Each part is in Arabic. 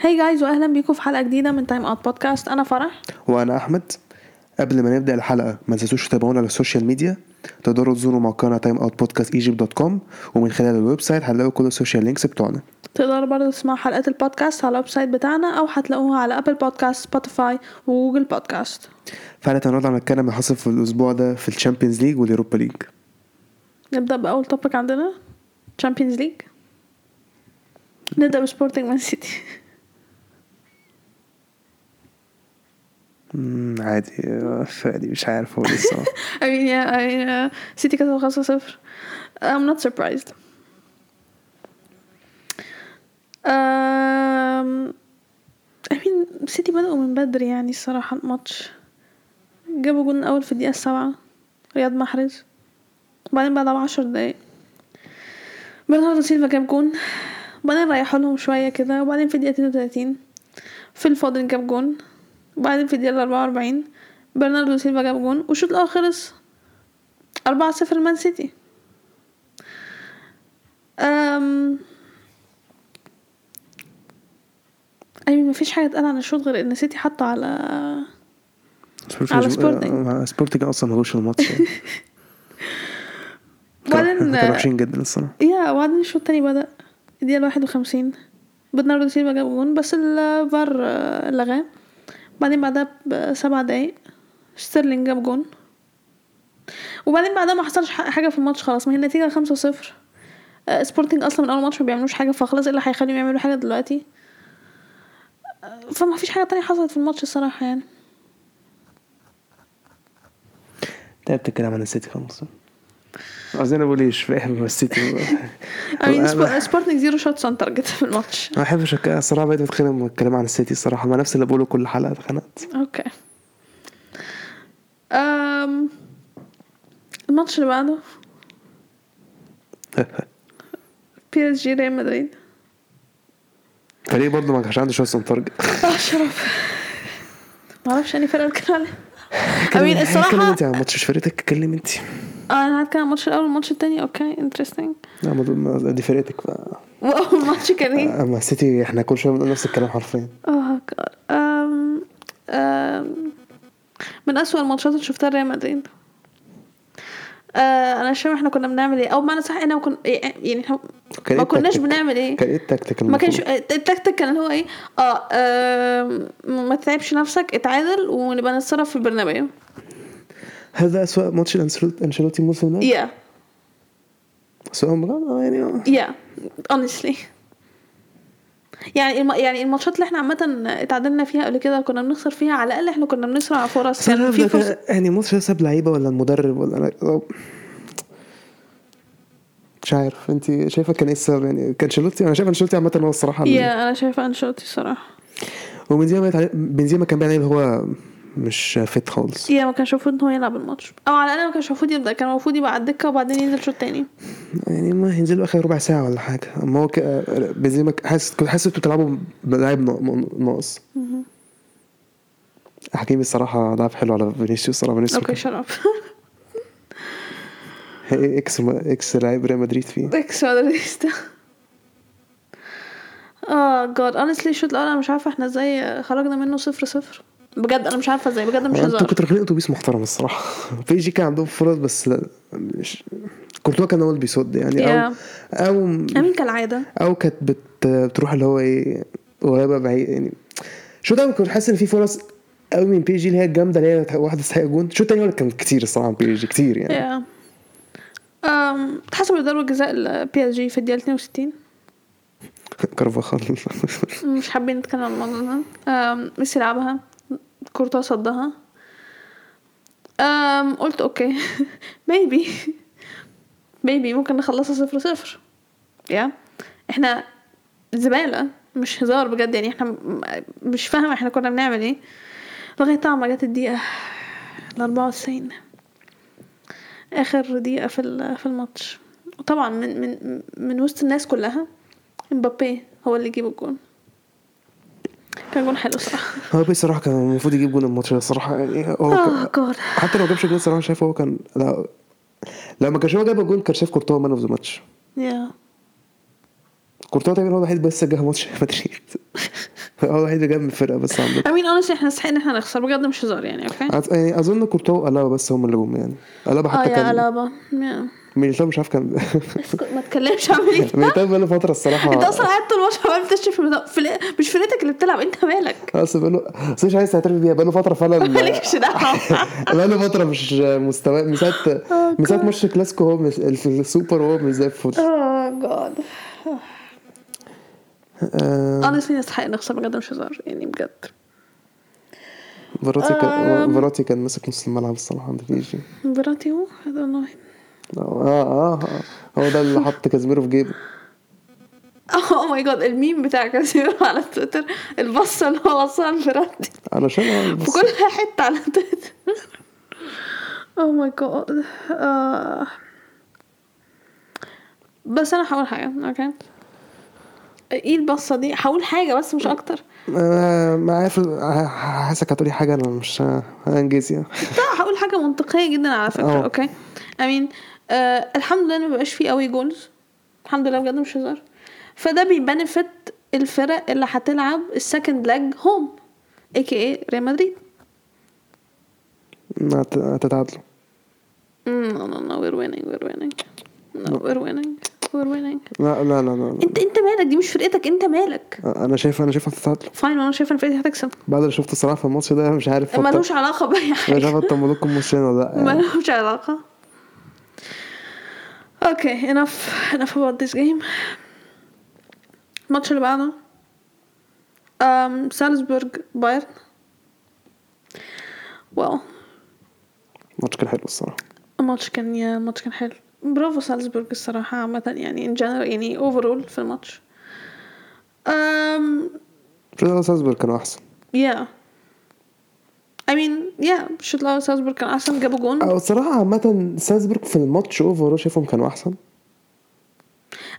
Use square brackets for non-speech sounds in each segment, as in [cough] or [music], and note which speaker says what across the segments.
Speaker 1: هاي جايز واهلا بيكم في حلقه جديده من تايم اوت بودكاست انا فرح
Speaker 2: وانا احمد قبل ما نبدا الحلقه ما تنسوش تتابعونا على السوشيال ميديا تقدروا تزوروا موقعنا تايم اوت بودكاست ايجيبت دوت كوم ومن خلال الويب سايت هتلاقوا كل السوشيال لينكس بتوعنا
Speaker 1: تقدروا برضه تسمعوا حلقات البودكاست على الويب سايت بتاعنا او هتلاقوها على ابل بودكاست سبوتيفاي وجوجل بودكاست
Speaker 2: فعلا النهارده هنتكلم عن اللي حصل في الاسبوع ده في الشامبيونز ليج واليوروبا ليج
Speaker 1: نبدا باول توبيك عندنا تشامبيونز ليج نبدا بسبورتنج مان سيتي
Speaker 2: مم، عادي عادي مش عارف
Speaker 1: [laughs]
Speaker 2: هو لسه
Speaker 1: I mean yeah I mean uh, سيتي كسب 5 0 I'm not surprised um, I mean سيتي بدأوا من بدري يعني الصراحة الماتش جابوا جون أول في الدقيقة السابعة رياض محرز وبعدين بعدها بعشر دقايق برناردو سيلفا جاب جون وبعدين ريحوا لهم شوية كده وبعدين في الدقيقة 32 فيل فودن جاب جون وبعدين في الدقيقة 44 برناردو سيلفا جاب جون والشوط الأول خلص 4 0 مان سيتي أم أي مفيش حاجة اتقال عن الشوط غير إن سيتي حطه على على
Speaker 2: آه،
Speaker 1: سبورتنج.
Speaker 2: سبورتنج اصلا
Speaker 1: [laughs]
Speaker 2: ملوش الماتش يعني.
Speaker 1: وبعدين
Speaker 2: كانوا وحشين جدا الصراحه
Speaker 1: يا وبعدين الشوط التاني بدأ الدقيقة الواحد وخمسين برناردو سيلفا جاب جون بس الفار آه، لغاه بعدين بعدها بسبع دقايق ستيرلينج جاب جون وبعدين بعدها ما حصلش ح- حاجة في الماتش خلاص ما هي النتيجة خمسة صفر آه، سبورتنج أصلا من أول ماتش ما بيعملوش حاجة فخلاص إيه اللي هيخليهم يعملوا حاجة دلوقتي آه، فما فيش حاجة تانية حصلت في الماتش الصراحة يعني
Speaker 2: تعبت الكلام طيب، عن السيتي خلاص عايزين ابو ليش في الاخر هو السيتي
Speaker 1: I mean
Speaker 2: أنا-
Speaker 1: سبو- سبورتنج زيرو شوتس أون تارجت في الماتش
Speaker 2: ما بحبش الك- الصراحه بقيت اتخانق من الكلام عن السيتي الصراحه ما نفس اللي بقوله كل حلقه اتخانقت
Speaker 1: اوكي أم الماتش اللي بعده بي اس جي ريال مدريد
Speaker 2: [laughs] فريق برضه ما كانش عنده شويه تارجت
Speaker 1: اه شرف معرفش يعني اني فرقه بتكلم عليها امين
Speaker 2: اتكلم
Speaker 1: الصراحه
Speaker 2: انت عن ماتش مش فرقتك اتكلم انت
Speaker 1: آه، انا هتكلم عن الماتش الاول والماتش التاني اوكي انترستنج
Speaker 2: لا ما دول- ما- دي فرقتك بقى.
Speaker 1: واول ماتش كان [laughs] ايه
Speaker 2: اما السيتي احنا كل شويه بنقول نفس الكلام حرفيا
Speaker 1: اه جاد أم أم um, من أسوأ الماتشات اللي شفتها لريال مدريد آه انا مش فاهم احنا كنا بنعمل ايه او بمعنى صح احنا كنا يعني احنا
Speaker 2: كان
Speaker 1: ما
Speaker 2: إيه
Speaker 1: كناش
Speaker 2: التكتيك؟
Speaker 1: بنعمل ايه
Speaker 2: كان ايه التكتيك
Speaker 1: ما كانش
Speaker 2: المفروض؟
Speaker 1: التكتيك كان اللي هو ايه اه آم، ما تتعبش نفسك اتعادل ونبقى نتصرف في البرنابيو
Speaker 2: هذا اسوء ماتش لأنشيلوت- انشيلوتي الموسم ده؟
Speaker 1: يا
Speaker 2: اسوء مباراة؟ آه يعني آه.
Speaker 1: يا honestly يعني الم... يعني الماتشات اللي احنا عامة اتعادلنا فيها قبل كده كنا بنخسر فيها على الأقل احنا كنا بنصنع فرص
Speaker 2: بس أنا
Speaker 1: كان
Speaker 2: عارف ده
Speaker 1: في فرص
Speaker 2: كان- يعني الماتش ده ساب لعيبه ولا المدرب ولا انا أو- مش عارف انت شايفه كان ايه السبب يعني كان شيلوتي انا شايف انشيلوتي عامه هو الصراحه اللي-
Speaker 1: يا انا شايفه انشيلوتي الصراحه
Speaker 2: وبنزيما يتعلم- بنزيما كان بيلعب هو مش فيت خالص
Speaker 1: يا ما كانش المفروض ان هو يلعب الماتش او على الاقل ما كانش المفروض يبدا كان المفروض يبقى على الدكه وبعدين ينزل شوط تاني
Speaker 2: يعني ما هينزلوا اخر ربع ساعه ولا حاجه اما هو ك- بنزيما ك- حاسس كنت حاسس انتوا بتلعبوا بلاعب نا- نا- ناقص حكيمي الصراحه لعب حلو على فينيسيوس الصراحه فينيسيوس
Speaker 1: اوكي [laughs] شرب
Speaker 2: هي- اكس اكس لعيب ريال مدريد فيه
Speaker 1: اكس مدريستا اه جاد honestly الشوط الاول انا مش عارفه احنا ازاي خرجنا منه صفر صفر بجد انا مش عارفه ازاي بجد مش
Speaker 2: انتوا
Speaker 1: هزار
Speaker 2: كنتوا راكبين اتوبيس محترم [laughs] الصراحه في جي كان عندهم فرص بس لا مش كورتوا كان هو اللي بيصد يعني او
Speaker 1: Yeah.
Speaker 2: او
Speaker 1: امين كالعاده
Speaker 2: او كانت بت... بتروح اللي هو ايه قريبه بعيد يعني شو ده كنت حاسس ان في فرص قوي من بي جي اللي هي الجامده اللي هي واحده تستحق جون شو التاني كان كتير الصراحه من بي جي كتير يعني
Speaker 1: يا أم، اتحسب ضربة Um، جزاء البي اس جي في الدقيقة 62
Speaker 2: كارفاخال
Speaker 1: مش حابين نتكلم عن الموضوع ده أم، ميسي لعبها كورتوا صدها أم قلت [laughs] اوكي بيبي بيبي ممكن نخلصها صفر صفر يا احنا زبالة مش هزار بجد يعني احنا م- مش فاهمة احنا كنا بنعمل ايه لغاية طبعا ما جت الدقيقة الأربعة وتسعين آخر دقيقة في ال- في الماتش وطبعا من من من وسط الناس كلها مبابي هو اللي يجيب الجون كان جون حلو صراحة
Speaker 2: هو بي صراحه كان المفروض يجيب جون الماتش ده الصراحه يعني هو
Speaker 1: اه [laughs]
Speaker 2: كان...
Speaker 1: جاد
Speaker 2: حتى لو جابش جون الصراحه شايف هو كان لا لما كانش هو جاب الجون كان شايف كورتوا مان اوف ذا ماتش
Speaker 1: يا
Speaker 2: كورتوا تقريبا هو الوحيد بس جه ماتش [laughs] مدريد هو الوحيد اللي جاب من الفرقه بس عامه
Speaker 1: I mean honestly احنا نستحق ان احنا نخسر بجد مش هزار يعني اوكي
Speaker 2: أز- يعني اظن كورتوا وألابا بس هم اللي جم يعني ألابا
Speaker 1: اه
Speaker 2: حتى
Speaker 1: يا
Speaker 2: كان
Speaker 1: الابا يا.
Speaker 2: ميليتاو مش عارف كان [laughs]
Speaker 1: اسكت ما تكلمش عامل ايه
Speaker 2: ميليتاو بقاله فتره الصراحه
Speaker 1: انت اصلا قاعد طول الماتش عمال بتشتم في المدا- في ال- مش فرقتك اللي بتلعب انت مالك [laughs]
Speaker 2: [laughs] اصل بقاله اصل مش عايز تعترف بيها بقاله فتره فعلا
Speaker 1: مالكش دعوه [laughs]
Speaker 2: بقاله فتره مش مستوى من ساعه
Speaker 1: آه،
Speaker 2: من ساعه ماتش الكلاسيكو هو مش السوبر هو مش زي الفل
Speaker 1: اه جاد
Speaker 2: آه،
Speaker 1: honestly نستحق نخسر بجد مش هزار يعني بجد
Speaker 2: فيراتي
Speaker 1: آم.
Speaker 2: كان فيراتي كان ماسك نص الملعب الصراحه عند بيجي
Speaker 1: براتي هو I don't know him.
Speaker 2: اه اه آه. هو ده اللي حط كازيميرو في جيبه
Speaker 1: اوه ماي جاد Oh الميم بتاع كاسيرو على تويتر البصه اللي هو بصها لبراتي
Speaker 2: علشان آه،
Speaker 1: في
Speaker 2: بص
Speaker 1: كل حته على [laughs] تويتر اوه ماي جاد آه. بس انا هقول حاجه اوكي ايه البصه دي هقول حاجه بس مش اكتر
Speaker 2: آه، ما عارف آه، حاسك هتقولي حاجه انا مش آه، هنجز يعني
Speaker 1: لا هقول حاجه منطقيه جدا على فكره
Speaker 2: أه.
Speaker 1: اوكي امين آه الحمد لله إن ما بقاش فيه قوي جولز الحمد لله بجد مش هزار فده بيبنفت الفرق اللي هتلعب السكند لاج هوم اي كي اي ريال مدريد
Speaker 2: هت- هتتعادلوا
Speaker 1: نو نو نو وير ويننج وير ويننج نو وير ويننج وير ويننج
Speaker 2: لا لا لا لا,
Speaker 1: انت انت مالك دي مش فرقتك انت مالك
Speaker 2: لا. انا شايف انا شايف هتتعادلوا
Speaker 1: فاين انا شايفه ان فرقتي هتكسب
Speaker 2: بعد اللي شفته الصراحه في الماتش ده مش عارف أط-
Speaker 1: ملوش علاقه باي حاجه
Speaker 2: مش عارف اطمن لكم ماتشين ولا لا
Speaker 1: [laughs]
Speaker 2: يعني.
Speaker 1: ملهمش علاقة اوكي enough enough about this game الماتش اللي بعده um, سالزبورغ بايرن واو
Speaker 2: الماتش كان حلو الصراحه
Speaker 1: الماتش كان يا الماتش كان حلو برافو سالزبورغ الصراحة عامة يعني in general يعني overall في الماتش um,
Speaker 2: فريد سالزبورج كانوا احسن
Speaker 1: yeah I mean yeah الشوط الأول سالزبورغ كان أحسن جابوا جون
Speaker 2: او الصراحه عامه سالزبورج في الماتش اوفر شايفهم كانوا احسن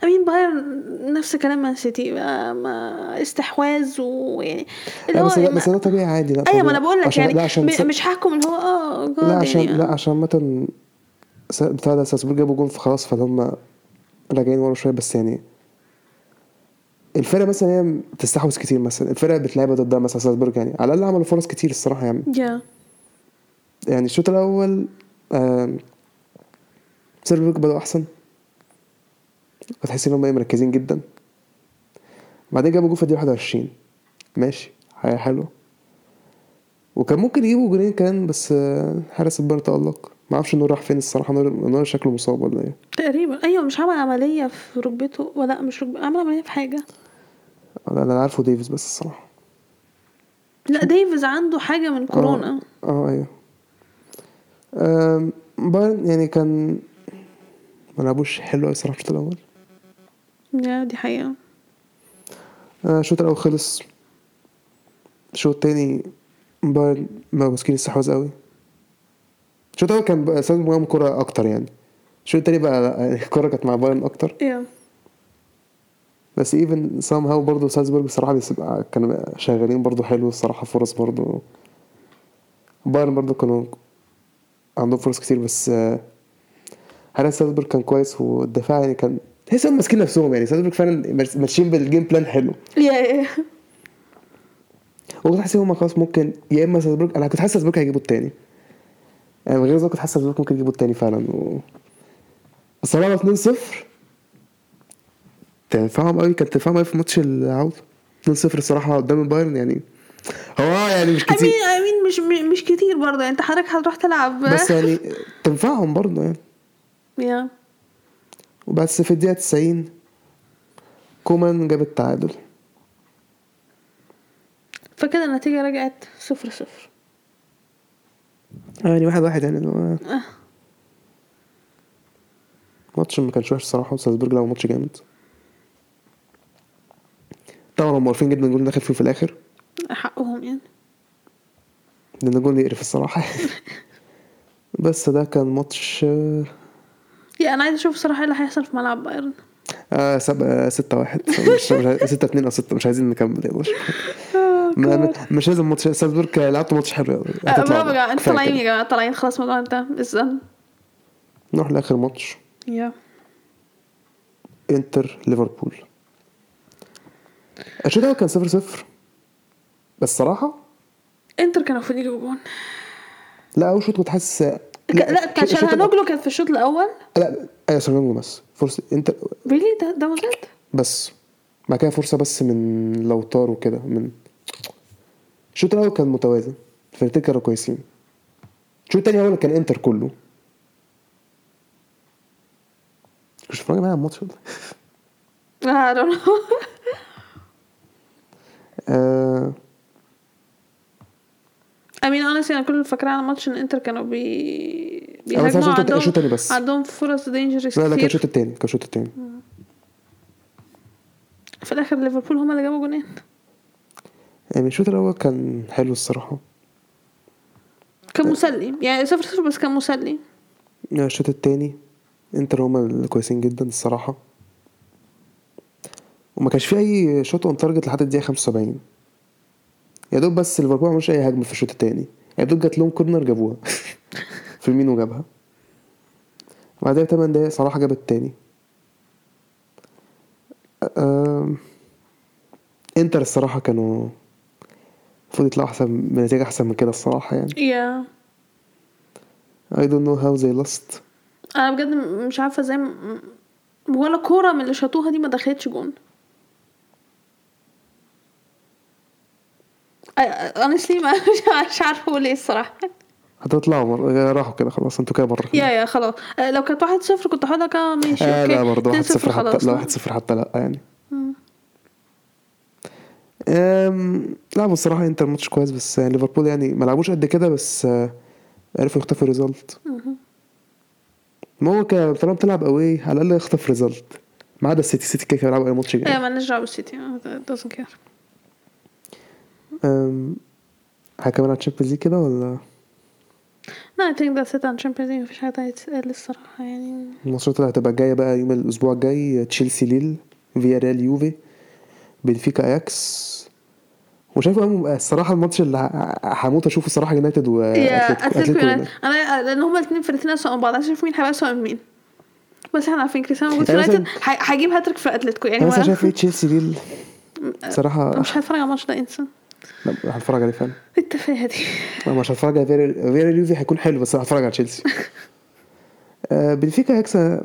Speaker 1: امين بايرن نفس كلام مان سيتي ما- ما استحواذ ويعني اللي
Speaker 2: لا
Speaker 1: هو
Speaker 2: بس ده
Speaker 1: يعني
Speaker 2: بس ده طبيعي عادي لا
Speaker 1: ايوه ما
Speaker 2: طبيعي.
Speaker 1: انا بقول لك
Speaker 2: عشان-
Speaker 1: يعني
Speaker 2: لا عشان
Speaker 1: م-
Speaker 2: سا-
Speaker 1: مش هحكم ان هو اه جاد
Speaker 2: لا عشان
Speaker 1: يعني
Speaker 2: لا عشان عامه سا- بتاع ده سالزبورج جابوا جول فخلاص فهم راجعين ورا شويه بس يعني الفرقه مثلا هي بتستحوذ كتير مثلا الفرقه بتلعبها ضدها مثلا سالزبورج يعني على الاقل عملوا فرص كتير الصراحه يعني
Speaker 1: يا
Speaker 2: يعني الشوط الاول آم، سيرفرج بدأوا احسن هتحس ان هم إيه، مركزين جدا بعدين جابوا جول في الدقيقة 21 ماشي حاجة حلوة وكان ممكن يجيبوا جولين كمان بس آه، حارس البايرن تألق معرفش نور راح فين الصراحة نور نور شكله مصاب ولا ايه
Speaker 1: تقريبا ايوه مش عمل عمليه في ركبته ولا مش ركبته عمل عمليه في حاجه
Speaker 2: انا أنا عارفه ديفيز بس الصراحة
Speaker 1: لا ديفيز عنده حاجه من كورونا
Speaker 2: اه آه، ايوه آم، بايرن يعني كان ما لعبوش حلو أوي الصراحة الشوط الأول
Speaker 1: يا دي حقيقه
Speaker 2: آه، الشوط الاول خلص الشوط التاني بايرن ما ماسكين الاستحواذ قوي الشوط الاول كان بقى سبب معاهم كرة اكتر يعني الشوط التاني بقى لأ، [laughs] الكرة كانت مع بايرن اكتر
Speaker 1: يا
Speaker 2: بس ايفن سام هاو برضه سالزبورج الصراحة بس بقى آه، كانوا شغالين برضه حلو الصراحة فرص برضه بايرن برضه كانوا عندهم فرص كتير بس آه، حارس سالزبورج كان كويس والدفاع يعني كان تحس انهم ماسكين نفسهم يعني سالزبورج فعلا ماشيين بالجيم بلان حلو
Speaker 1: يا يا
Speaker 2: وكنت حاسس ان هم خلاص ممكن يا اما ساسبورج انا كنت حاسس ساسبورج هيجيبوا التاني يعني من غير ده كنت حاسس ساسبورج ممكن يجيبوا التاني فعلا و... الصراحه 2 0 تنفعهم قوي كان تنفعهم قوي في ماتش العوده 2 0 الصراحه قدام البايرن يعني هو آه يعني مش
Speaker 1: امين
Speaker 2: كتير
Speaker 1: امين مش م- مش كتير برضه يعني انت حضرتك هتروح تلعب
Speaker 2: بس يعني تنفعهم برضه يعني
Speaker 1: يا
Speaker 2: وبس في الدقيقه 90 كومان جاب التعادل
Speaker 1: فكده النتيجه رجعت صفر صفر
Speaker 2: يعني واحد واحد يعني اللي هو
Speaker 1: آه.
Speaker 2: ماتش ما كانش وحش الصراحه وسالزبورج لعبوا ماتش جامد طبعا هم عارفين جدا الجول داخل فيه في الاخر
Speaker 1: حقهم يعني
Speaker 2: لان الجول يقرف الصراحه [laughs] بس ده كان ماتش آه،
Speaker 1: يا انا عايزه اشوف الصراحه ايه اللي هيحصل في ملعب بايرن
Speaker 2: آه سب... آه ستة واحد مش مش عايز- ستة اتنين أو ستة مش عايزين نكمل يلا ما- ما- مش لازم ماتش سالزبورج لعبتوا ماتش حلو يلا
Speaker 1: آه،
Speaker 2: هتطلع
Speaker 1: برافو يا
Speaker 2: بقى.
Speaker 1: جماعه انتوا
Speaker 2: كفاية
Speaker 1: طالعين
Speaker 2: كده.
Speaker 1: يا جماعه طالعين خلاص الموضوع انتهى ازاي
Speaker 2: نروح لآخر ماتش
Speaker 1: يا
Speaker 2: انتر ليفربول الشوط الأول كان 0 0 بس صراحه
Speaker 1: انتر كانوا المفروض يجيبوا جون
Speaker 2: لا اول شوط كنت حاسس
Speaker 1: لا, لا بتاع
Speaker 2: الشوط- الشوط-
Speaker 1: شالهانوجلو كان في الشوط الاول
Speaker 2: لا ايوه سيرجيو بس فرصه انت
Speaker 1: ريلي ده ده مزاد
Speaker 2: بس بعد كده فرصه بس من لوتار وكده من الشوط الاول كان متوازن الفرقتين كانوا كويسين الشوط التاني هو اللي كان انتر كله مش فاهم معايا على الماتش والله.
Speaker 1: I don't know. [laughs]
Speaker 2: آه
Speaker 1: I mean honestly انا كل اللي فاكراه على ماتش ان انتر كانوا بي
Speaker 2: أنا بس عايز
Speaker 1: بيهاجموا
Speaker 2: أشوط-
Speaker 1: عندهم
Speaker 2: أشوط تاني بس.
Speaker 1: عندهم فرص دينجرس
Speaker 2: لا لا كان
Speaker 1: كتير
Speaker 2: الشوط التاني كان الشوط التاني
Speaker 1: في الاخر ليفربول هما اللي جابوا جونين
Speaker 2: يعني الشوط الاول كان حلو الصراحه
Speaker 1: كان مسلي يعني صفر صفر بس كان مسلي
Speaker 2: يعني الشوط التاني انتر هما اللي كويسين جدا الصراحه وما كانش في اي شوط اون تارجت لحد الدقيقه 75 يا دوب بس ليفربول ما عملوش اي هجمه في الشوط التاني يا دوب جات لهم كورنر جابوها [laughs] فيرمينو جابها بعدها ب 8 دقايق صلاح جاب التاني أم، انتر الصراحه كانوا المفروض يطلعوا احسن بنتيجه احسن من كده الصراحه يعني
Speaker 1: يا
Speaker 2: I don't know how they lost
Speaker 1: انا بجد م- مش عارفه ازاي م- ولا كوره من اللي شاطوها دي ما دخلتش جون اونستلي [laughs] مش عارفه اقول ايه الصراحه
Speaker 2: هتطلعوا مر... راحوا كده خلاص انتوا كده بره
Speaker 1: يا يا خلاص آه، لو كانت واحد صفر كنت هقول لك اه ماشي
Speaker 2: آه
Speaker 1: اوكي
Speaker 2: لا برضه 1
Speaker 1: اتنين
Speaker 2: 0
Speaker 1: خلاص
Speaker 2: حتى لا 1 0 حتى لا يعني أم... لعبوا الصراحة انتر ماتش كويس بس يعني ليفربول يعني ما لعبوش قد كده بس آه، عرفوا يخطفوا ريزلت ما هو كده طالما بتلعب قوي على الأقل اخطف ريزلت ما عدا السيتي سيتي كده كده بيلعبوا أي ماتش
Speaker 1: ايه
Speaker 2: جاي
Speaker 1: مالناش دعوه بالسيتي doesn't care
Speaker 2: أم... هكمل على الشامبيونز ليج كده ولا
Speaker 1: لا I think that's it on Champions League مفيش حاجة تانية تتقال الصراحة يعني
Speaker 2: الماتشات اللي هتبقى الجاية بقى يوم الأسبوع الجاي تشيلسي ليل فياريال يوفي بنفيكا أياكس وشايف أم- الصراحة الماتش اللي ه- هموت أشوفه الصراحة يونايتد
Speaker 1: يا
Speaker 2: وأتلتيكو
Speaker 1: اتلتيكو يونايتد
Speaker 2: يونايتد.
Speaker 1: انا لان آه، هما الاثنين فرقتين اسوء من بعض عشان اشوف مين هيبقى اسوء من مين بس احنا عارفين كريستيانو موجود في
Speaker 2: يعني مثلا-
Speaker 1: يونايتد هي- هيجيب هاتريك في اتلتيكو يعني أمم.
Speaker 2: أنا مثلا
Speaker 1: هو-
Speaker 2: شايف إيه تشيلسي ليل
Speaker 1: أنا
Speaker 2: صراحة
Speaker 1: مش هتفرج على الماتش ده انسى
Speaker 2: لا، هتفرج عليه فعلا
Speaker 1: إيه التفاهة دي
Speaker 2: لا، مش هتفرج على فياريال فياريال يوفي هيكون حلو بس أنا هتفرج
Speaker 1: [laughs]
Speaker 2: على تشيلسي آه، بنفيكا أياكس
Speaker 1: آه.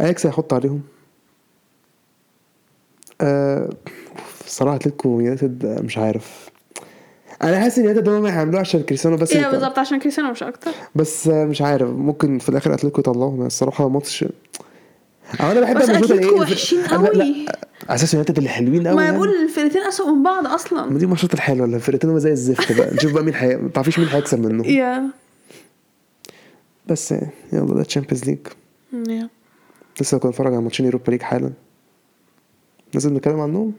Speaker 2: أياكس هيحط عليهم آه، الصراحة أتلتيكو يونايتد آه، مش عارف انا حاسس ان يونايتد هم هيعملوه عشان كريستيانو
Speaker 1: [laughs]
Speaker 2: بس
Speaker 1: يا
Speaker 2: يبقى-
Speaker 1: بالظبط عشان كريستيانو مش اكتر
Speaker 2: بس آه، مش عارف ممكن في الاخر اتلتيكو يطلعهم الصراحه ماتش أو انا بحب
Speaker 1: بس
Speaker 2: أما الشوط
Speaker 1: أتلتيكو
Speaker 2: الإيه-
Speaker 1: وحشين
Speaker 2: أنا- إيه، لا،
Speaker 1: قوي.
Speaker 2: على اساس يونايتد اللي حلوين قوي
Speaker 1: ما
Speaker 2: يعني.
Speaker 1: بقول الفرقتين اسوء من بعض
Speaker 2: ما
Speaker 1: اصلا
Speaker 2: دي الماتشات الحلوه اللي الفرقتين هما زي الزفت بقى نشوف بقى مين حي... ما تعرفيش مين هيكسب منهم
Speaker 1: يا
Speaker 2: بس إيه، يلا ده تشامبيونز ليج
Speaker 1: يا
Speaker 2: لسه كنا بنتفرج على ماتشين يوروبا ليج حالا لازم نتكلم عنهم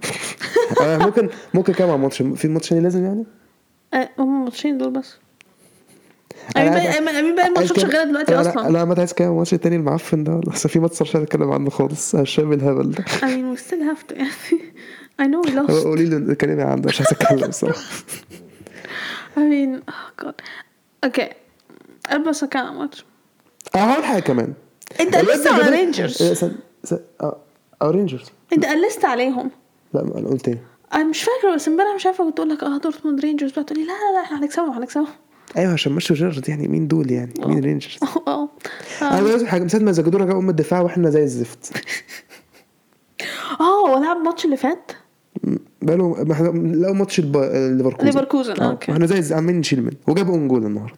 Speaker 2: آه، ممكن ممكن كام على ماتش في ماتش تاني لازم يعني
Speaker 1: آه، هما الماتشين دول بس
Speaker 2: أنا
Speaker 1: أمين
Speaker 2: عايز-
Speaker 1: باقي- أمين- أمين باقي الماتشات
Speaker 2: عايز كده-
Speaker 1: شغالة دلوقتي
Speaker 2: لا، لا،
Speaker 1: أصلا.
Speaker 2: لا ما عايز كام الماتش التاني المعفن ده والله أصل في ماتش مش هنتكلم عنه خالص هشام إيه الهبل ده
Speaker 1: I mean we still have to [laughs] يعني I know we
Speaker 2: هو
Speaker 1: lost
Speaker 2: [laughs] قولي لي كلمة عنده مش عايز اتكلم صراحة
Speaker 1: I mean oh god okay قبل بس كان ماتش
Speaker 2: اه هقول حاجة كمان إيه،
Speaker 1: انت قلست على رينجرز
Speaker 2: رينجرز
Speaker 1: انت قلست عليهم
Speaker 2: آه، لا ما انا قلت ايه
Speaker 1: انا مش فاكره بس امبارح مش عارفه كنت اقول لك اه دورتموند رينجرز بقى تقول لي لا لا لا احنا هنكسبهم هنكسبهم [laughs]
Speaker 2: ايوه عشان مشوا جيرارد يعني مين دول يعني مين رينجرز
Speaker 1: اه
Speaker 2: انا عايز حاجه من ساعه ما زجدونا جابوا ام الدفاع واحنا زي الزفت
Speaker 1: اه هو لعب الماتش اللي فات
Speaker 2: بقالهم ما احنا لقوا ماتش الب- ليفركوزن
Speaker 1: ليفركوزن،
Speaker 2: آه،
Speaker 1: أوكي.
Speaker 2: احنا زي الز- عمالين نشيل منه وجاب اون جول النهارده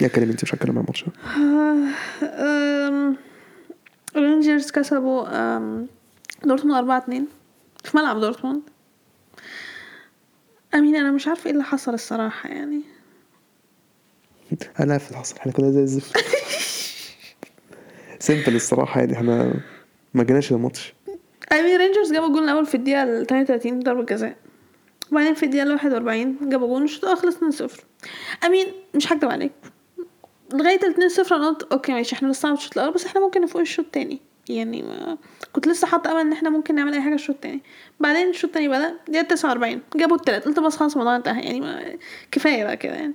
Speaker 2: يا كريم انت مش هتكلم عن الماتش ده.
Speaker 1: أم، آه، رينجرز كسبوا أم، دورتموند 4 2 في ملعب دورتموند امين انا مش عارفه ايه اللي حصل الصراحه يعني
Speaker 2: انا في الحصر احنا كنا زي الزفت [laughs] سيمبل الصراحه يعني احنا ما جيناش الماتش
Speaker 1: امين رينجرز جابوا الجول الاول في الدقيقه ال 38 ضربه جزاء وبعدين في الدقيقه ال 41 جابوا جول الشوط الاول خلص 2 0 امين مش هكدب عليك لغايه ال 2 0 انا قلت اوكي ماشي احنا لسه على الشوط الاول بس احنا ممكن نفوق الشوط التاني يعني ما كنت لسه حاطه امل ان احنا ممكن نعمل اي حاجه الشوط التاني بعدين الشوط التاني بدا دقيقه 49 جابوا التلات قلت بس خلاص الموضوع انتهى يعني ما كفايه بقى كده يعني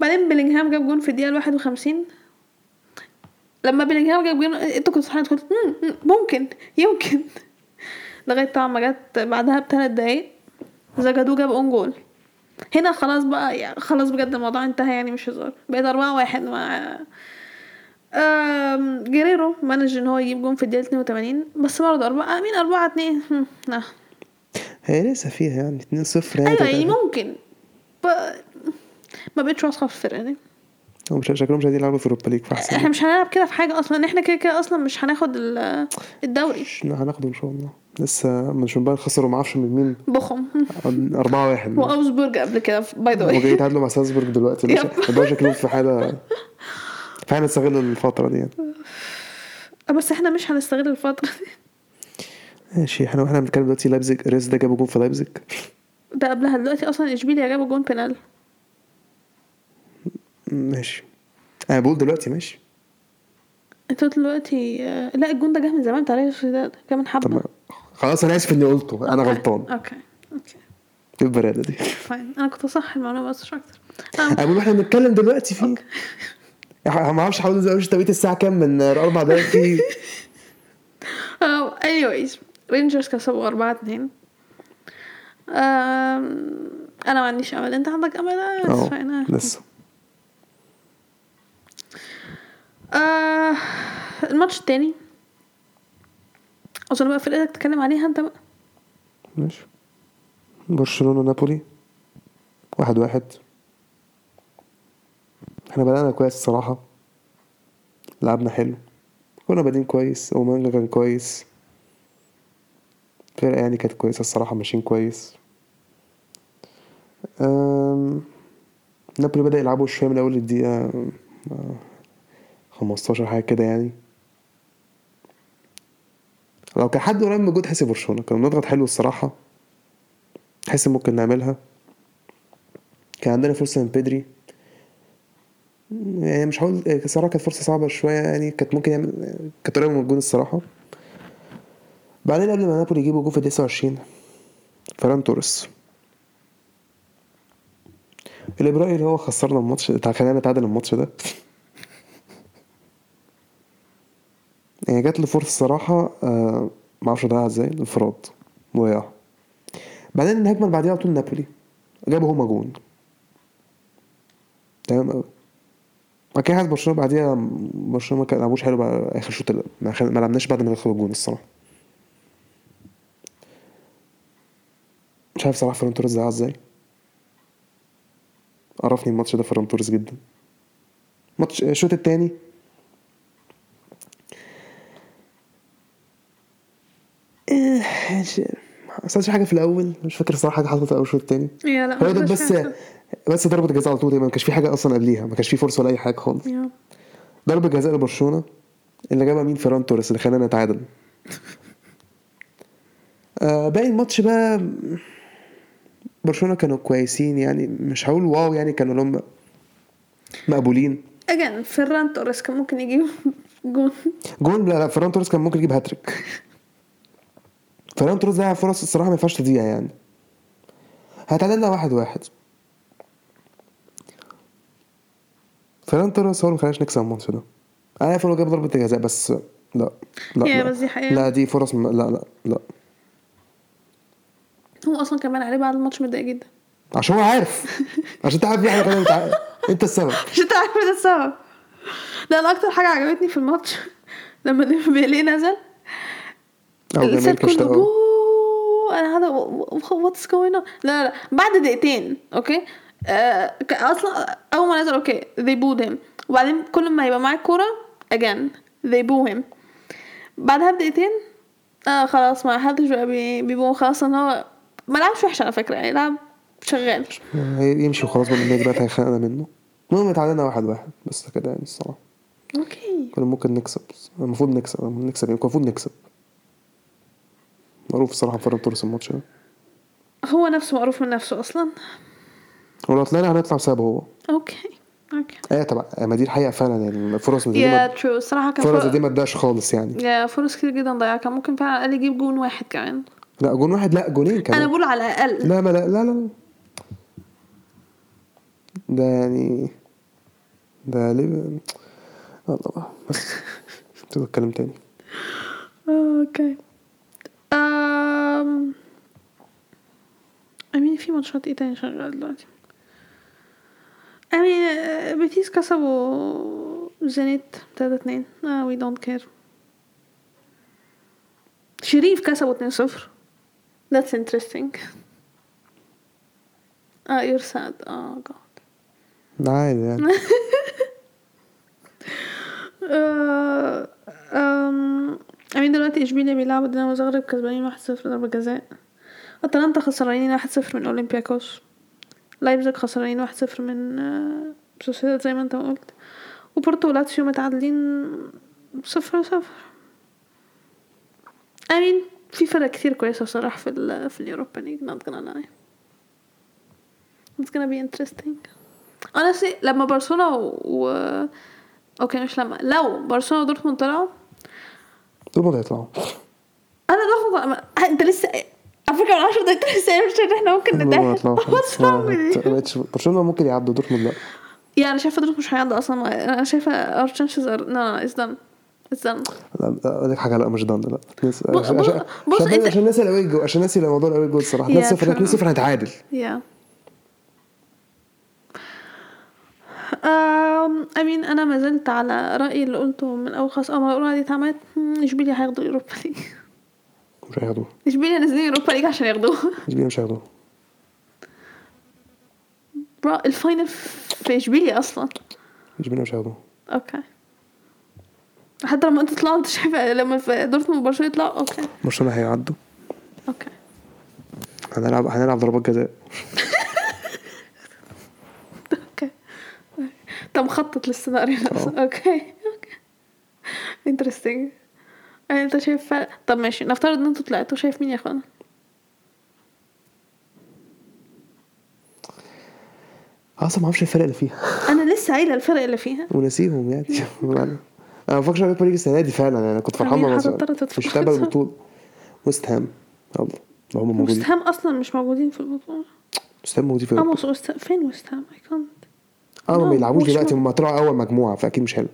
Speaker 1: بعدين بيلينغهام جاب جون في الدقيقه ال 51 لما بيلينغهام جاب جون انتوا كنتوا فرحانين كنتوا مم، مم، ممكن يمكن لغايه طبعا ما جت بعدها بثلاث دقايق زجدو جاب اون جول هنا خلاص بقى يعني خلاص بجد الموضوع انتهى يعني مش هزار بقيت أربعة واحد مع آم، جيريرو مانج ان هو يجيب جون في الدقيقة 82 بس برضه أربعة آه، مين أربعة اتنين هم، لا
Speaker 2: هي لسه فيها يعني 2 0 يعني
Speaker 1: أيوة يعني
Speaker 2: تلاتة-
Speaker 1: ممكن ب... ما بقتش واثقة في الفرقة دي
Speaker 2: هم شكلهم مش عايزين يلعبوا في اوروبا ليج فاحسن
Speaker 1: احنا مش هنلعب كده في حاجة أصلا احنا كده كده أصلا مش هناخد ال- الدوري
Speaker 2: مش- هناخده ان شاء الله لسه من شنبال خسروا ما اعرفش من مين
Speaker 1: بخم
Speaker 2: 4 1
Speaker 1: وأوزبورج قبل كده باي ذا
Speaker 2: وجاي
Speaker 1: واي
Speaker 2: يتعادلوا مع سالزبورج دلوقتي
Speaker 1: يب.
Speaker 2: الدوري شكلهم في حاله فاحنا نستغل الفتره دي يعني
Speaker 1: [laughs] بس احنا مش هنستغل الفترة دي
Speaker 2: ماشي احنا واحنا بنتكلم دلوقتي لايبزيج ريس ده جابوا جون في لايبزيج
Speaker 1: ده قبلها دلوقتي أصلا إشبيليا جابوا جون بينال
Speaker 2: ماشي انا بقول دلوقتي ماشي
Speaker 1: انتوا دلوقتي آه، لا الجون ده جه من زمان تعالى ده كمان
Speaker 2: طب
Speaker 1: حبه
Speaker 2: ما- خلاص انا اسف اني قلته انا غلطان
Speaker 1: اوكي اوكي
Speaker 2: ايه البرادة دي
Speaker 1: فاين انا كنت صح المعلومه بس مش اكتر
Speaker 2: انا بقول احنا بنتكلم دلوقتي فيه إح- ما اعرفش حاول ازود توقيت الساعه كام من اربع دقايق
Speaker 1: [laughs]
Speaker 2: في
Speaker 1: اني وايز رينجرز كسبوا 4 2 انا ما عنديش امل انت عندك امل آه، it's fine،
Speaker 2: اه
Speaker 1: آه.
Speaker 2: لسه
Speaker 1: آه، الماتش التاني اظن بقى فرقتك تتكلم عليها انت بقى
Speaker 2: ماشي برشلونه نابولي واحد واحد احنا بدأنا كويس الصراحة لعبنا حلو كنا بادئين كويس ومانجا كان كويس الفرقة يعني كانت كويسة الصراحة ماشيين كويس أم... نابولي بدأ يلعبوا شوية من أول الدقيقة أم، أه، 15 حاجة كده يعني لو كان حد قريب من جود حسي برشلونة كنا بنضغط حلو الصراحة حس ممكن نعملها كان عندنا فرصة من بدري يعني مش هقول الصراحة كانت فرصة صعبة شوية يعني كانت ممكن يعمل كانت قريبة من الجون الصراحة بعدين قبل ما نابولي يجيبوا جون في الدقيقة 29 فران توريس الإبرائي اللي هو خسرنا الماتش بتاع خلانا نتعادل الماتش ده يعني جات له فرصة الصراحة آه، معرفش ضيعها ازاي الانفراد ضيعها بعدين الهجمة اللي بعديها على طول نابولي جابوا هما جون تمام قوي بعد كده حاسس برشلونه بعديها برشلونه ما كان- لعبوش حلو بقى اخر شوط ال- ما خل- ما لعبناش بعد ما دخلوا الجون الصراحه مش عارف صراحه فيران توريس زعل ازاي عرفني الماتش ده فيران توريس جدا ماتش الشوط التاني إيه، مش- ما حصلش حاجه في الاول مش فاكر صراحه حاجه حصلت في اول الشوط التاني
Speaker 1: يا لا
Speaker 2: هو ده
Speaker 1: مش
Speaker 2: بس
Speaker 1: فاهم.
Speaker 2: بس ضربه جزاء على طول تقريباً، ما كانش في حاجه اصلا قبليها ما كانش في فرصه ولا اي حاجه خالص
Speaker 1: يا.
Speaker 2: ضربة جزاء لبرشلونة اللي جابها مين فيران توريس اللي خلانا نتعادل آه باقي الماتش بقى برشلونة كانوا كويسين يعني مش هقول واو يعني كانوا لهم مقبولين
Speaker 1: اجان فيران توريس كان ممكن يجيب [laughs] جون
Speaker 2: جون لا لا فيران توريس كان ممكن يجيب هاتريك فيران توريس ضيع فرص الصراحة ما ينفعش تضيع يعني هتعادلنا واحد واحد فيران توريس هو اللي مخلاش نكسب الماتش ده انا عارف إن هو جاب ضربة الجزاء بس لا لا
Speaker 1: يا
Speaker 2: لا.
Speaker 1: بس دي حقيقة.
Speaker 2: لا دي فرص من... لا لا لا
Speaker 1: هو اصلا كمان عليه بعد الماتش متضايق جدا
Speaker 2: عشان هو
Speaker 1: [laughs]
Speaker 2: عارف عشان تعرف في حاجه غلط انت عارف. انت السبب
Speaker 1: مش انت عارف ده السبب لا انا اكتر حاجه عجبتني في الماتش [laughs] لما ديمبلي نزل
Speaker 2: او جماهير
Speaker 1: السير كله
Speaker 2: كشتاقه
Speaker 1: بوووو، انا هذا واتس جوينج اون لا لا بعد دقيقتين اوكي آه ك- اصلا اول ما نزل اوكي they booed him وبعدين كل ما يبقى معاك كوره again they boo him بعدها بدقيقتين اه خلاص ما حدش بقى بي- بيبو خلاص ان هو ما لعبش وحش على فكره يعني لعب شغال
Speaker 2: يمشي وخلاص بقى النادي بقى هيخانقنا منه المهم اتعادلنا واحد واحد بس كده يعني الصراحه
Speaker 1: اوكي
Speaker 2: كنا ممكن نكسب المفروض نكسب المفروض نكسب يعني كان المفروض نكسب معروف الصراحه فرق تورس الماتش ده
Speaker 1: هو نفسه مقروف من نفسه اصلا
Speaker 2: ولو طلعنا هنطلع بسبب هو
Speaker 1: اوكي اوكي
Speaker 2: ايه طبعا ما دي الحقيقه فعلا يعني الفرص دي
Speaker 1: يا
Speaker 2: ما
Speaker 1: ترو الصراحه كان
Speaker 2: الفرص دي
Speaker 1: فرص
Speaker 2: ما اداش خالص يعني
Speaker 1: يا فرص كتير جدا ضيعها كان ممكن فعلا على الاقل يجيب جون واحد كمان
Speaker 2: لا جون واحد لا جونين كمان
Speaker 1: انا بقول على الاقل
Speaker 2: لا ما لا لا لا ده يعني ده ليه ب- يلا بقى
Speaker 1: Oh,
Speaker 2: بس تبقى الكلام تاني
Speaker 1: اوكي آه يعني في ماتشات ايه تاني شغال دلوقتي يعني آه، بيتيس كسبوا زينيت تلاتة اتنين اه وي دونت كير شريف كسبوا اتنين صفر That's interesting اه you're sad اه god
Speaker 2: عادي
Speaker 1: [laughs]
Speaker 2: يعني
Speaker 1: آه، أم، امين دلوقتي اشبيليا بيلعبوا دينامو زغرب كسبانين 1-0 ضربة جزاء اتلانتا خسرانين 1-0 من اولمبياكوس لايبزيج خسرانين 1-0 من آه، سوسيداد زي ما انت ما قلت وبورتو ولاتسيو متعادلين 0-0 امين في فرق كتير كويسة بصراحة في ال في اليوروبا ليج not gonna lie it's gonna be interesting honestly لما برشلونة و... و... اوكي مش لما لو برشلونه ودورتموند طلعوا
Speaker 2: دول
Speaker 1: [laughs]
Speaker 2: برضه هيطلعوا
Speaker 1: انا دورتموند طلع... انت لسه على فكره من 10 دقايق أنت لسه قايل ان احنا ممكن
Speaker 2: دول برضه
Speaker 1: نتاهل [laughs]
Speaker 2: هيطلعوا
Speaker 1: What's
Speaker 2: خلاص.
Speaker 1: wrong with
Speaker 2: ما
Speaker 1: you؟
Speaker 2: بقتش- برشلونة ممكن يعدوا دورتموند لا
Speaker 1: يعني انا شايفه دورتموند مش هيعدي اصلا انا شايفه our chances are no no it's done it's done
Speaker 2: لا، اقول لك حاجه لا مش دان لا ناس-
Speaker 1: بص-
Speaker 2: عشان
Speaker 1: بص-
Speaker 2: عشان-
Speaker 1: بص
Speaker 2: عشان-
Speaker 1: أنت-
Speaker 2: عشان ناسي الاوي جول عشان ناسي موضوع الاوي جول الصراحه
Speaker 1: يا
Speaker 2: 2 0
Speaker 1: فعلا.
Speaker 2: 2 0 هنتعادل
Speaker 1: yeah أم، امين انا ما زلت على رايي اللي قلته من اول خاص اول ما الاولى دي اتعملت مم، اشبيليا هياخدوا اليوروبا [laughs] ليج
Speaker 2: مش هياخدوه
Speaker 1: اشبيليا نازلين اليوروبا ليج عشان ياخدوها
Speaker 2: اشبيليا مش هياخدوه
Speaker 1: برا الفاينل في اشبيليا اصلا
Speaker 2: اشبيليا مش هياخدوه
Speaker 1: اوكي حتى لما انت طلعت انت شايفه لما في دورتموند وبرشلونه يطلعوا اوكي
Speaker 2: برشلونه هيعدوا
Speaker 1: اوكي
Speaker 2: هنلعب هنلعب ضربات جزاء
Speaker 1: اوكي انت مخطط للسيناريو نفسه اوكي اوكي انترستنج انت شايف فرق طب ماشي نفترض ان انتوا طلعتوا شايف مين ياخدها
Speaker 2: اصلا ما اعرفش إيه الفرق اللي فيها [laughs]
Speaker 1: انا لسه قايله الفرق اللي فيها
Speaker 2: ونسيهم يعني [laughs] انا ما بفكرش على اليوروبا ليج السنه دي فعلا يعني انا كنت فرحان
Speaker 1: مين
Speaker 2: وانا
Speaker 1: حاطط
Speaker 2: صغير.
Speaker 1: تلات أطفال؟
Speaker 2: مش تابع
Speaker 1: [laughs]
Speaker 2: البطوله ويست هام يلا لو هم موجودين
Speaker 1: وستهام اصلا مش موجودين في البطوله
Speaker 2: ويست هام موجودين في
Speaker 1: اه وستهام فين وستهام اي كونت
Speaker 2: اه ما
Speaker 1: لا،
Speaker 2: بيلعبوش
Speaker 1: آه، مش
Speaker 2: دلوقتي
Speaker 1: مو-
Speaker 2: هم طلعوا اول مجموعه فاكيد مش حلو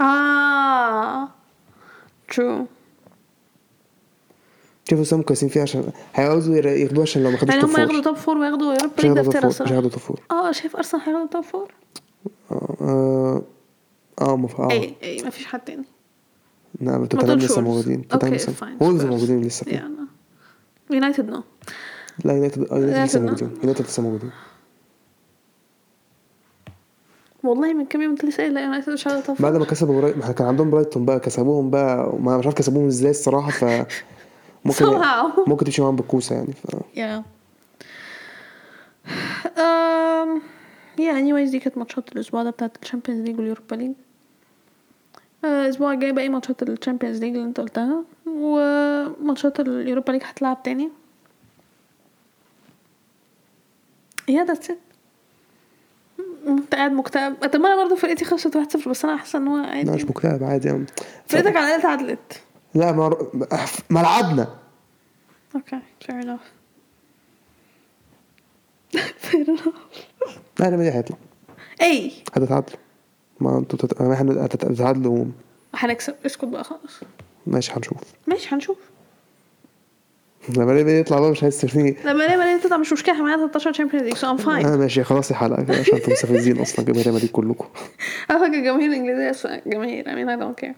Speaker 1: اه ترو
Speaker 2: شوف وسام كويسين فيها عشان هيعوزوا ير- ياخدوها عشان لو ما خدوش
Speaker 1: يعني
Speaker 2: توب
Speaker 1: هم ياخدوا
Speaker 2: فور
Speaker 1: توب فور وياخدوا يوروبا
Speaker 2: مش
Speaker 1: ليج ده
Speaker 2: هياخدوا توب
Speaker 1: افتراء
Speaker 2: فور مش
Speaker 1: الصراحه
Speaker 2: هياخدوا توب فور
Speaker 1: اه شايف ارسنال هياخدوا توب فور
Speaker 2: اه اه اه مف... اه
Speaker 1: اي اي مفيش حد تاني
Speaker 2: نعم
Speaker 1: ما
Speaker 2: توتنهام
Speaker 1: تقولش
Speaker 2: لسه
Speaker 1: وولفز.
Speaker 2: موجودين توتنهام
Speaker 1: اوكي
Speaker 2: لسه
Speaker 1: فاين
Speaker 2: وولفز موجودين لسه في-
Speaker 1: يعني يونايتد نو
Speaker 2: لا يونايتد آه،
Speaker 1: يونايتد
Speaker 2: يونايتد لسه
Speaker 1: لا.
Speaker 2: موجودين يونايتد لسه موجودين
Speaker 1: والله من كام يوم انت لسه قايل لا يونايتد مش عارف طفل
Speaker 2: بعد ما كسبوا برايتون ما كان عندهم برايتون بقى كسبوهم بقى ما مش عارف كسبوهم ازاي الصراحه ف ممكن
Speaker 1: Somehow.
Speaker 2: ممكن تمشي معاهم بالكوسه يعني ف
Speaker 1: يا أم يا اني وايز Um, دي كانت ماتشات الاسبوع ده بتاعت الشامبيونز ليج واليوروبا ليج آه، الاسبوع الجاي باقي ماتشات الشامبيونز ليج اللي انت قلتها وماتشات اليوروبا ليج هتلعب تاني يا ذاتس ات انت قاعد مكتئب اتمنى برضه فرقتي خسرت 1-0 بس انا حاسه ان هو
Speaker 2: لا مش
Speaker 1: عادي
Speaker 2: مكتئب عادي يعني
Speaker 1: فرقتك على الاقل تعادلت
Speaker 2: لا ما ملعبنا
Speaker 1: Okay, fair enough. [laughs] fair enough.
Speaker 2: لا لا ما دي هيطلع
Speaker 1: اي
Speaker 2: هتتعادلوا ما انتوا تت... ما احنا هتت- هتتعادلوا
Speaker 1: هنكسب اسكت بقى خالص
Speaker 2: ماشي هنشوف
Speaker 1: ماشي هنشوف
Speaker 2: لما ليه يطلع بقى مش هيستفيد
Speaker 1: لما ريال مدريد تطلع مش مشكله احنا معانا 13 شامبيونز ليج سو ام فاين [laughs]
Speaker 2: اه ماشي خلاص الحلقه كده عشان انتوا مستفزين اصلا جماهير ريال مدريد كلكم
Speaker 1: على فكره الجماهير الانجليزيه اسوء جماهير I mean I don't care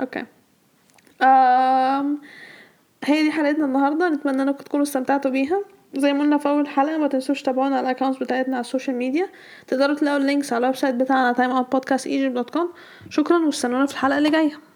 Speaker 1: اوكي أم هي دي حلقتنا النهارده نتمنى انكم تكونوا استمتعتوا بيها زي ما قلنا في اول حلقه ما تنسوش تتابعونا على الاكونتس بتاعتنا على السوشيال ميديا تقدروا تلاقوا اللينكس على الويب سايت بتاعنا timeoutpodcastegypt.com شكرا واستنونا في الحلقه اللي جايه